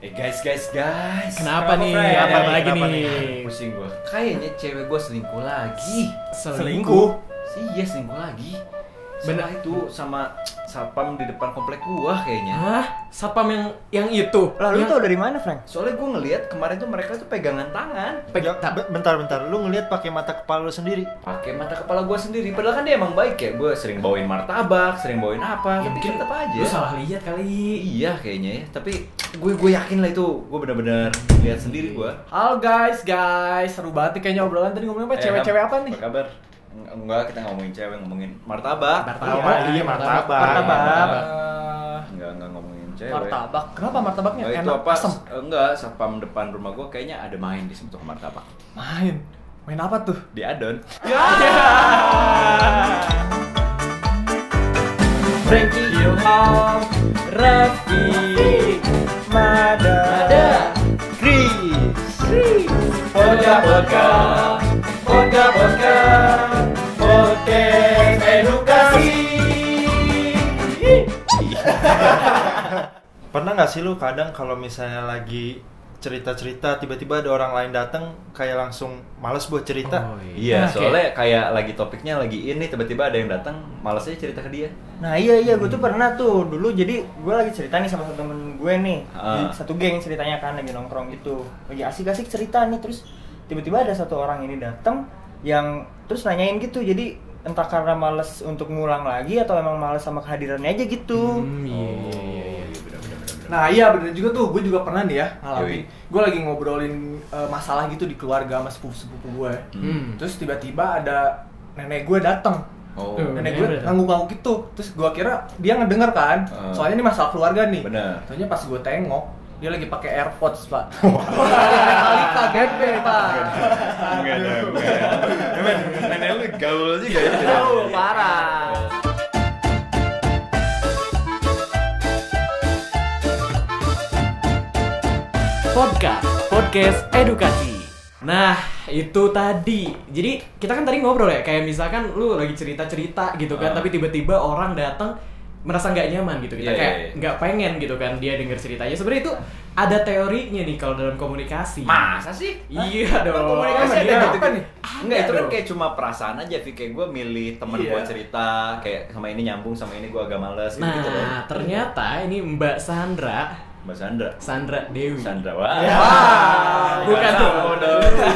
Eh guys, guys, guys. Kenapa, nih? Fred? Apa Kenapa lagi nih? nih? Pusing gua. Kayaknya cewek gua selingkuh lagi. Selingkuh. Si iya selingkuh lagi. Bener. Benar itu sama satpam di depan komplek gua kayaknya. Hah? Satpam yang yang itu. Lalu lu Yang- tau dari mana, Frank? Soalnya gua ngelihat kemarin tuh mereka tuh pegangan tangan Peg- Ya, tak- be- bentar bentar, lu ngelihat pakai mata kepala lu sendiri. pakai mata kepala gua sendiri. Padahal kan dia emang baik ya. Gua sering bawain martabak, sering bawain apa. Ya, tapi mungkin tetap aja. Lu salah lihat kali. Iya kayaknya ya, tapi gue gue yakin lah itu gue benar-benar lihat sendiri gue. Halo guys, guys, seru banget nih kayaknya obrolan tadi ngomongin apa? Eh, Cewek-cewek apa nih? Apa kabar? Eng- Enggak, kita ngomongin cewek, ngomongin martabak. Iya, iya, martabak. Martabak. Enggak, enggak ngomongin cewek. Martabak. Kenapa martabaknya Enggak, itu enak apa? asem? Eh, Enggak, satpam depan rumah gue kayaknya ada main di sebuah martabak. Main. Main apa tuh? Di adon. Frankie Ilham, Raffi, Mada. ada Kris. Podka Podka, Podka Podka, Podcast Edukasi. Pernah nggak sih lu kadang kalau misalnya lagi cerita-cerita tiba-tiba ada orang lain datang kayak langsung males buat cerita. Iya, Nah, soalnya kayak lagi topiknya lagi ini tiba-tiba ada yang datang, males aja cerita ke dia. Nah iya iya gue tuh pernah tuh dulu jadi gue lagi cerita nih sama satu temen gue nih Ah. satu geng ceritanya kan lagi nongkrong gitu lagi asik-asik cerita nih terus tiba-tiba ada satu orang ini datang yang terus nanyain gitu jadi entah karena males untuk ngulang lagi atau emang males sama kehadirannya aja gitu Hmm, iya, iya, iya, Oh, iya. iya, bener, bener, bener, bener. Nah iya bener juga tuh, gue juga pernah nih ya Yoi. ngalamin Gue lagi ngobrolin eh, masalah gitu di keluarga sama sepupu-sepupu gue Hmm. Terus tiba-tiba ada nenek gue dateng Oh, Tuh. Nenek Nenek gue dateng. ngangguk-ngangguk gitu Terus gue kira dia ngedenger kan Eh. Soalnya ini masalah keluarga nih Bener. Soalnya pas gue tengok dia lagi pakai AirPods, Pak. Metallica Gede, Pak. Enggak ada, enggak ada. Emang nenek lu gaul juga ya? Aduh, parah. Podcast, podcast edukasi. Nah, itu tadi. Jadi kita kan tadi ngobrol ya, kayak misalkan lu lagi cerita-cerita gitu kan, Ah. tapi tiba-tiba orang datang merasa nggak nyaman gitu kita Iya, kayak iya, iya. nggak pengen gitu kan dia denger ceritanya sebenarnya itu ada teorinya nih kalau dalam komunikasi Masa sih? iya dong komunikasi ada Iya. gitu kan nih? Enggak, itu kan dong. kayak cuma perasaan aja, Vi. Kayak gue milih temen Iya. gue cerita, kayak sama ini nyambung, sama ini gue agak males, gitu, gitu loh. Nah, ternyata ini Mbak Sandra, Mbak Sandra. Sandra Dewi. Sandra, wah. Wah, Ya. bukan Nggak tahu dong.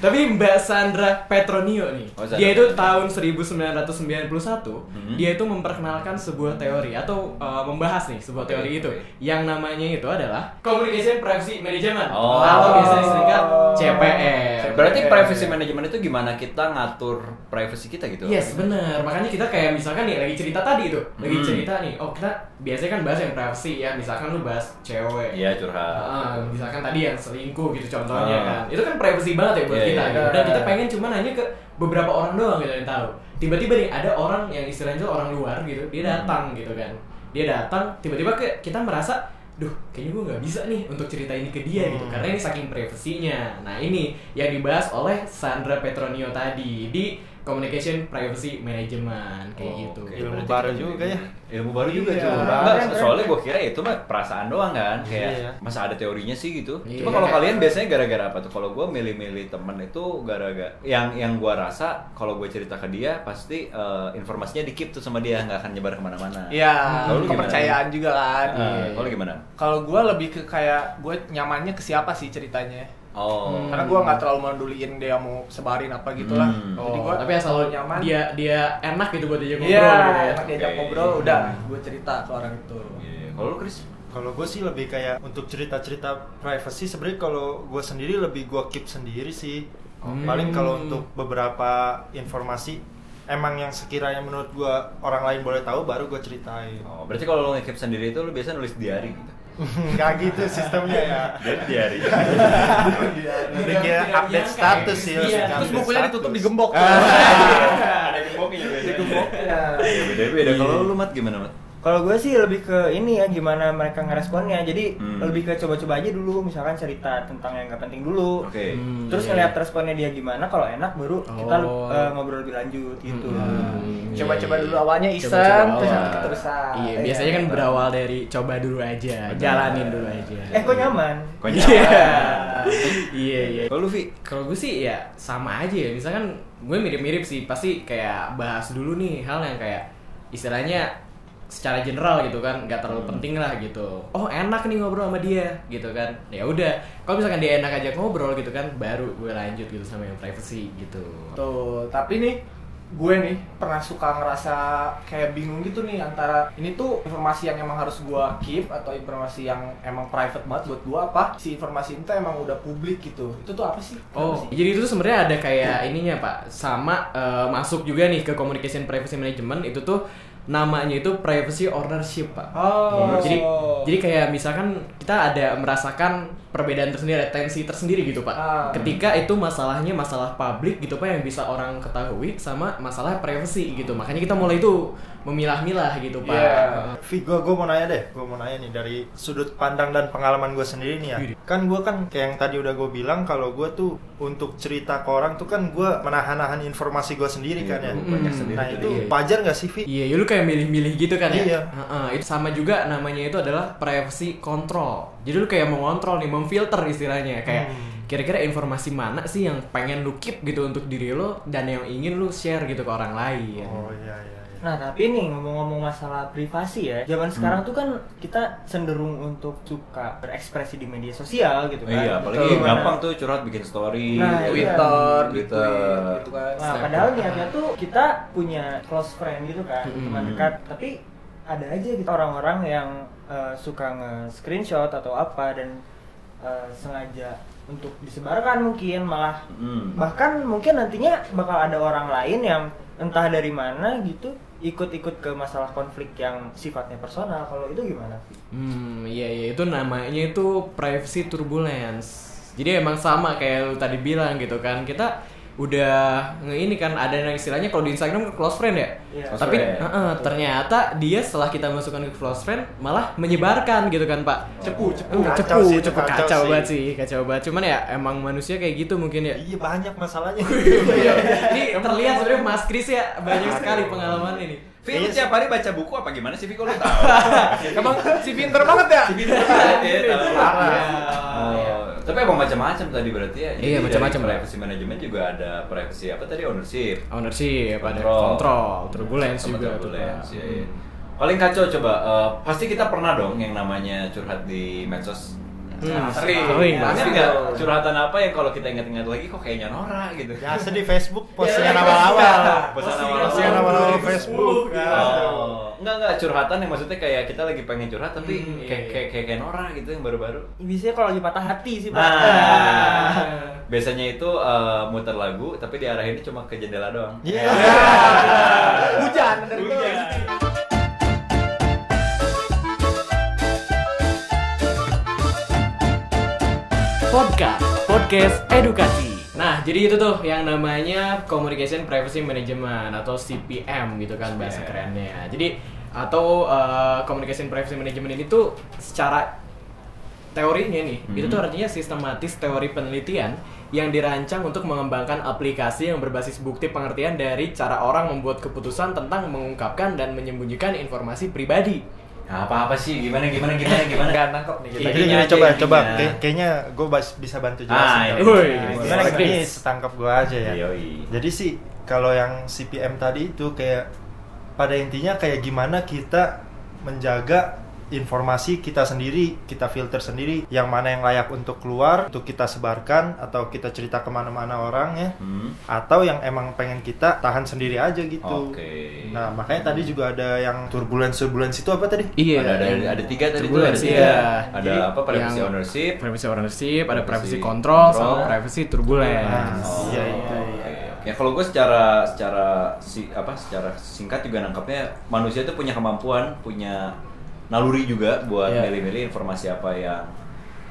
Tapi Mbak Sandra Petronio nih. Oh, Sandra. Dia itu tahun 1991, Mhm. dia itu memperkenalkan sebuah teori atau uh, membahas nih sebuah Oke, teori itu oke. yang namanya itu adalah Communication Privacy Management. Oh. Atau biasanya singkat CPM. Berarti privacy management itu gimana kita ngatur privacy kita gitu? Yes, bener. Makanya kita kayak misalkan nih lagi cerita tadi itu, lagi Hmm. cerita nih. Oh, kita biasanya kan bahas yang privacy ya. Misalkan lu bahas cewek. Iya, curhat. Ah, misalkan tadi yang selingkuh gitu contohnya Ah. kan. Itu kan privacy banget ya Iya, buat kita. iya, gitu. iya. Dan kita pengen cuma nanya ke beberapa orang doang gitu yang tahu. Tiba-tiba nih ada orang yang istilahnya tuh orang luar gitu, dia Hmm. datang gitu kan. Dia datang, tiba-tiba ke kita merasa Duh, kayaknya gue nggak bisa nih untuk cerita ini ke dia Hmm. gitu Karena ini saking privasinya Nah ini yang dibahas oleh Sandra Petronio tadi Di Communication Privacy Management Kayak gitu Oh, Oke, Ilmu berarti baru kita juga jadi- ya. Ilmu baru juga Iya. tuh. Enggak, soalnya gue kira ya itu mah perasaan doang kan. Kayak Iya. masa ada teorinya sih gitu. Iya. Cuma kalau kalian biasanya gara-gara apa tuh? Kalau gue milih-milih temen itu gara-gara yang yang gue rasa kalau gue cerita ke dia pasti eh, informasinya dikip tuh sama dia nggak akan nyebar kemana-mana. Iya, Kalau lu gimana? kepercayaan juga kan. Eh, kalau gimana? Kalau gue lebih ke kayak gue nyamannya ke siapa sih ceritanya? Oh. Hmm. Karena gue nggak terlalu menduliin dia mau sebarin apa gitulah. Hmm. Jadi Oh, gue tapi asal kalau nyaman. dia dia enak gitu buat diajak ngobrol Iya, gitu ya. enak diajak Oke. ngobrol, udah gue cerita ke orang itu. Iya. Kalau lu Chris? Kalau gue sih lebih kayak untuk cerita-cerita privacy sebenarnya kalau gue sendiri lebih gue keep sendiri sih. Hmm. Paling kalau untuk beberapa informasi emang yang sekiranya menurut gue orang lain boleh tahu baru gue ceritain. Oh, berarti kalau lu ngekip sendiri itu lu biasanya nulis diary gitu. Gak gitu sistemnya ya. Jadi diary. Jadi kayak update status Iya, sih. lebih ke Terus update bukunya status. ditutup di gembok. Iya. Ada gemboknya juga. Ada gemboknya. Beda-beda. Kalau lu mat gimana mat? Kalau gue sih lebih ke ini ya gimana mereka ngeresponnya. Jadi Hmm. lebih ke coba-coba aja dulu misalkan cerita tentang yang nggak penting dulu. Oke. Hmm, Terus iya, ngeliat responnya dia gimana kalau enak baru kita Oh. eh, ngobrol lebih lanjut gitu. Hmm, iya, Coba-coba dulu iya. awalnya iseng, Coba-coba terus awal. nanti keterusan. Iya, Iya, biasanya kan betul. berawal dari coba dulu aja, Betul. jalanin dulu aja. Eh kok nyaman? Konyol. Iya. Iya, iya. Kalau lu Vi, Kalau gue sih ya sama aja ya. Misalkan gue mirip-mirip sih, pasti kayak bahas dulu nih hal yang kayak istilahnya secara general gitu kan, nggak terlalu penting lah gitu. Oh enak nih ngobrol sama dia gitu kan. Ya udah. Kalau misalkan dia enak aja ngobrol gitu kan, baru gue lanjut gitu sama yang privacy gitu. Tuh, tapi nih gue nih pernah suka ngerasa kayak bingung gitu nih antara ini tuh informasi yang emang harus gue keep atau informasi yang emang private banget buat gue apa si informasi itu emang udah publik gitu itu tuh apa sih? Kenapa Oh, sih? jadi itu tuh sebenarnya ada kayak ininya Pak, sama eh, masuk juga nih ke communication privacy management itu tuh namanya itu privacy ownership Pak. Oh. jadi jadi kayak misalkan kita ada merasakan perbedaan tersendiri, ada tensi tersendiri gitu Pak. Ah. Ketika itu masalahnya masalah publik gitu Pak yang bisa orang ketahui sama masalah privacy gitu. Makanya kita mulai itu memilah-milah gitu Pak. Iya. Vi, gue mau nanya deh, gue mau nanya nih dari sudut pandang dan pengalaman gue sendiri nih ya. Kan gue kan kayak yang tadi udah gue bilang kalau gue tuh untuk cerita ke orang tuh kan gue menahan-nahan informasi gue sendiri kan ya. Iya, banyak sendiri Nah jadi itu iya. wajar nggak sih Vi? Iya, ya lu kayak milih-milih gitu kan ya? Iya. Heeh, itu sama juga namanya itu adalah privacy control. Jadi lu kayak mengontrol nih, memfilter istilahnya kayak Hmm. kira-kira informasi mana sih yang pengen lu keep gitu untuk diri lo dan yang ingin lu share gitu ke orang lain. Oh iya iya. iya. Nah tapi nih ngomong-ngomong masalah privasi ya, zaman sekarang tuh kan kita cenderung untuk suka berekspresi di media sosial gitu kan. iya, apalagi Gimana? gampang tuh curhat bikin story, Nah, ya iya. kan? Twitter, di Twitter. tweet, gitu kan. Nah, padahal niatnya tuh kita punya close friend gitu kan, teman dekat. Tapi ada aja gitu orang-orang yang eh, suka nge-screenshot atau apa dan eh, sengaja untuk disebarkan mungkin malah Hmm. bahkan mungkin nantinya bakal ada orang lain yang entah dari mana gitu ikut-ikut ke masalah konflik yang sifatnya personal. Kalau itu gimana? Hmm, iya iya itu namanya itu privacy turbulence. Jadi emang sama kayak lu tadi bilang gitu kan. Kita udah nge ini kan ada yang istilahnya kalau di Instagram close friend ya. Iya. Close Tapi friend. heeh, ternyata dia setelah kita masukkan ke close friend malah menyebarkan gitu kan, Pak. Cepu, cepu. Eh, Kacau cepu, sih itu, cepu kacau kacau, sih. banget sih, kacau banget. Cuman ya emang manusia kayak gitu mungkin ya. Iya banyak masalahnya. Oh, iya, iya. Ini terlihat sebenarnya Mas Kris ya banyak sekali pengalaman ini. Vi, lu tiap Iya, hari baca buku apa gimana sih Vi? Kok lu tahu? Iya. Emang si pinter banget ya? Si Vi tuh Iya. banget ya, tahu. Parah. Oh, tapi emang macam-macam tadi berarti ya. Jadi Iya, dari macam-macam. Privacy management juga ada privacy apa tadi ownership. Ownership, ada kontrol, turbulence Sama juga tuh, Hmm. turbulence, Pak. iya, iya. Paling kacau coba eh, pasti kita pernah dong yang namanya curhat di medsos. Nah, Hmm, Sering. sering, Ada Pasti Pak. nggak dong. curhatan apa yang kalau kita ingat-ingat lagi kok kayaknya norak gitu? Ya sedih Facebook postingan Iya, awal-awal. Pesan Postingan awal-awal. awal-awal Facebook. ya. Oh, enggak enggak curhatan yang maksudnya kayak kita lagi pengen curhat tapi Hmm, iya, kayak iya. kayak kayak kayak norak gitu yang baru-baru. Biasanya kalau lagi patah hati sih, Pak. Nah, Hmm. biasanya itu eh, muter lagu tapi diarahinnya cuma ke jendela doang. Iya. Hujan dari Hujan. Podcast, podcast edukasi. Nah, jadi itu tuh yang namanya Communication Privacy Management atau CPM gitu kan bahasa kerennya. Jadi atau eh, Communication Privacy Management ini tuh secara teorinya nih, itu tuh artinya sistematis teori penelitian yang dirancang untuk mengembangkan aplikasi yang berbasis bukti pengertian dari cara orang membuat keputusan tentang mengungkapkan dan menyembunyikan informasi pribadi. Nah, apa-apa sih? Gimana gimana gimana gimana? Gak nangkep nih kita. Iya. Gini, Intinya gini, aja, coba, intinya. coba. Kay- kayaknya gue bisa bantu Ah, jelasin. iya. kali. Woi, gimana gimana, gini, Chris? setangkap gue aja ya. Yoi. Jadi sih, kalau yang CPM tadi itu kayak pada intinya kayak gimana kita menjaga informasi kita sendiri, kita filter sendiri, yang mana yang layak untuk keluar, untuk kita sebarkan atau kita cerita kemana-mana orang ya, Hmm. atau yang emang pengen kita tahan sendiri aja gitu. Oke. Nah makanya tadi juga ada yang turbulensi-turbulensi itu apa tadi? Iya, Ada, ada ada tiga tadi tuh, ada Turbulence, tiga. iya. Ada Jadi, apa privacy yang- ownership? privacy ownership, ada Privacy privacy control, control. sama privacy turbulence. Nah, Oh, iya, iya, oke, iya. oke. Ya kalau gue secara secara si apa secara singkat juga nangkapnya manusia itu punya kemampuan, punya naluri juga buat Iya. milih-milih informasi apa yang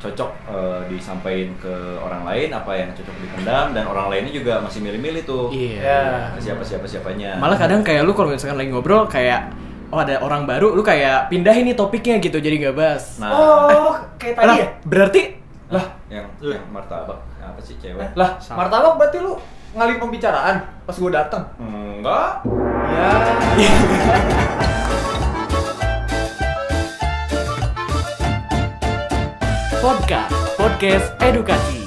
cocok eh, disampaikan ke orang lain, apa yang cocok dipendam dan orang lainnya juga masih milih-milih tuh. Nah, Iya. Siapa siapa siapanya. Malah kadang kayak lu kalau misalkan lagi ngobrol kayak oh ada orang baru, lu kayak pindahin nih topiknya gitu jadi nggak bahas. Nah, eh, Oh, kayak tadi Lah, ya? berarti Lah, yang yang martabak apa sih cewek? lah, martabak berarti lu ngalih pembicaraan pas gua datang. Enggak. Ya. podcast podcast edukasi.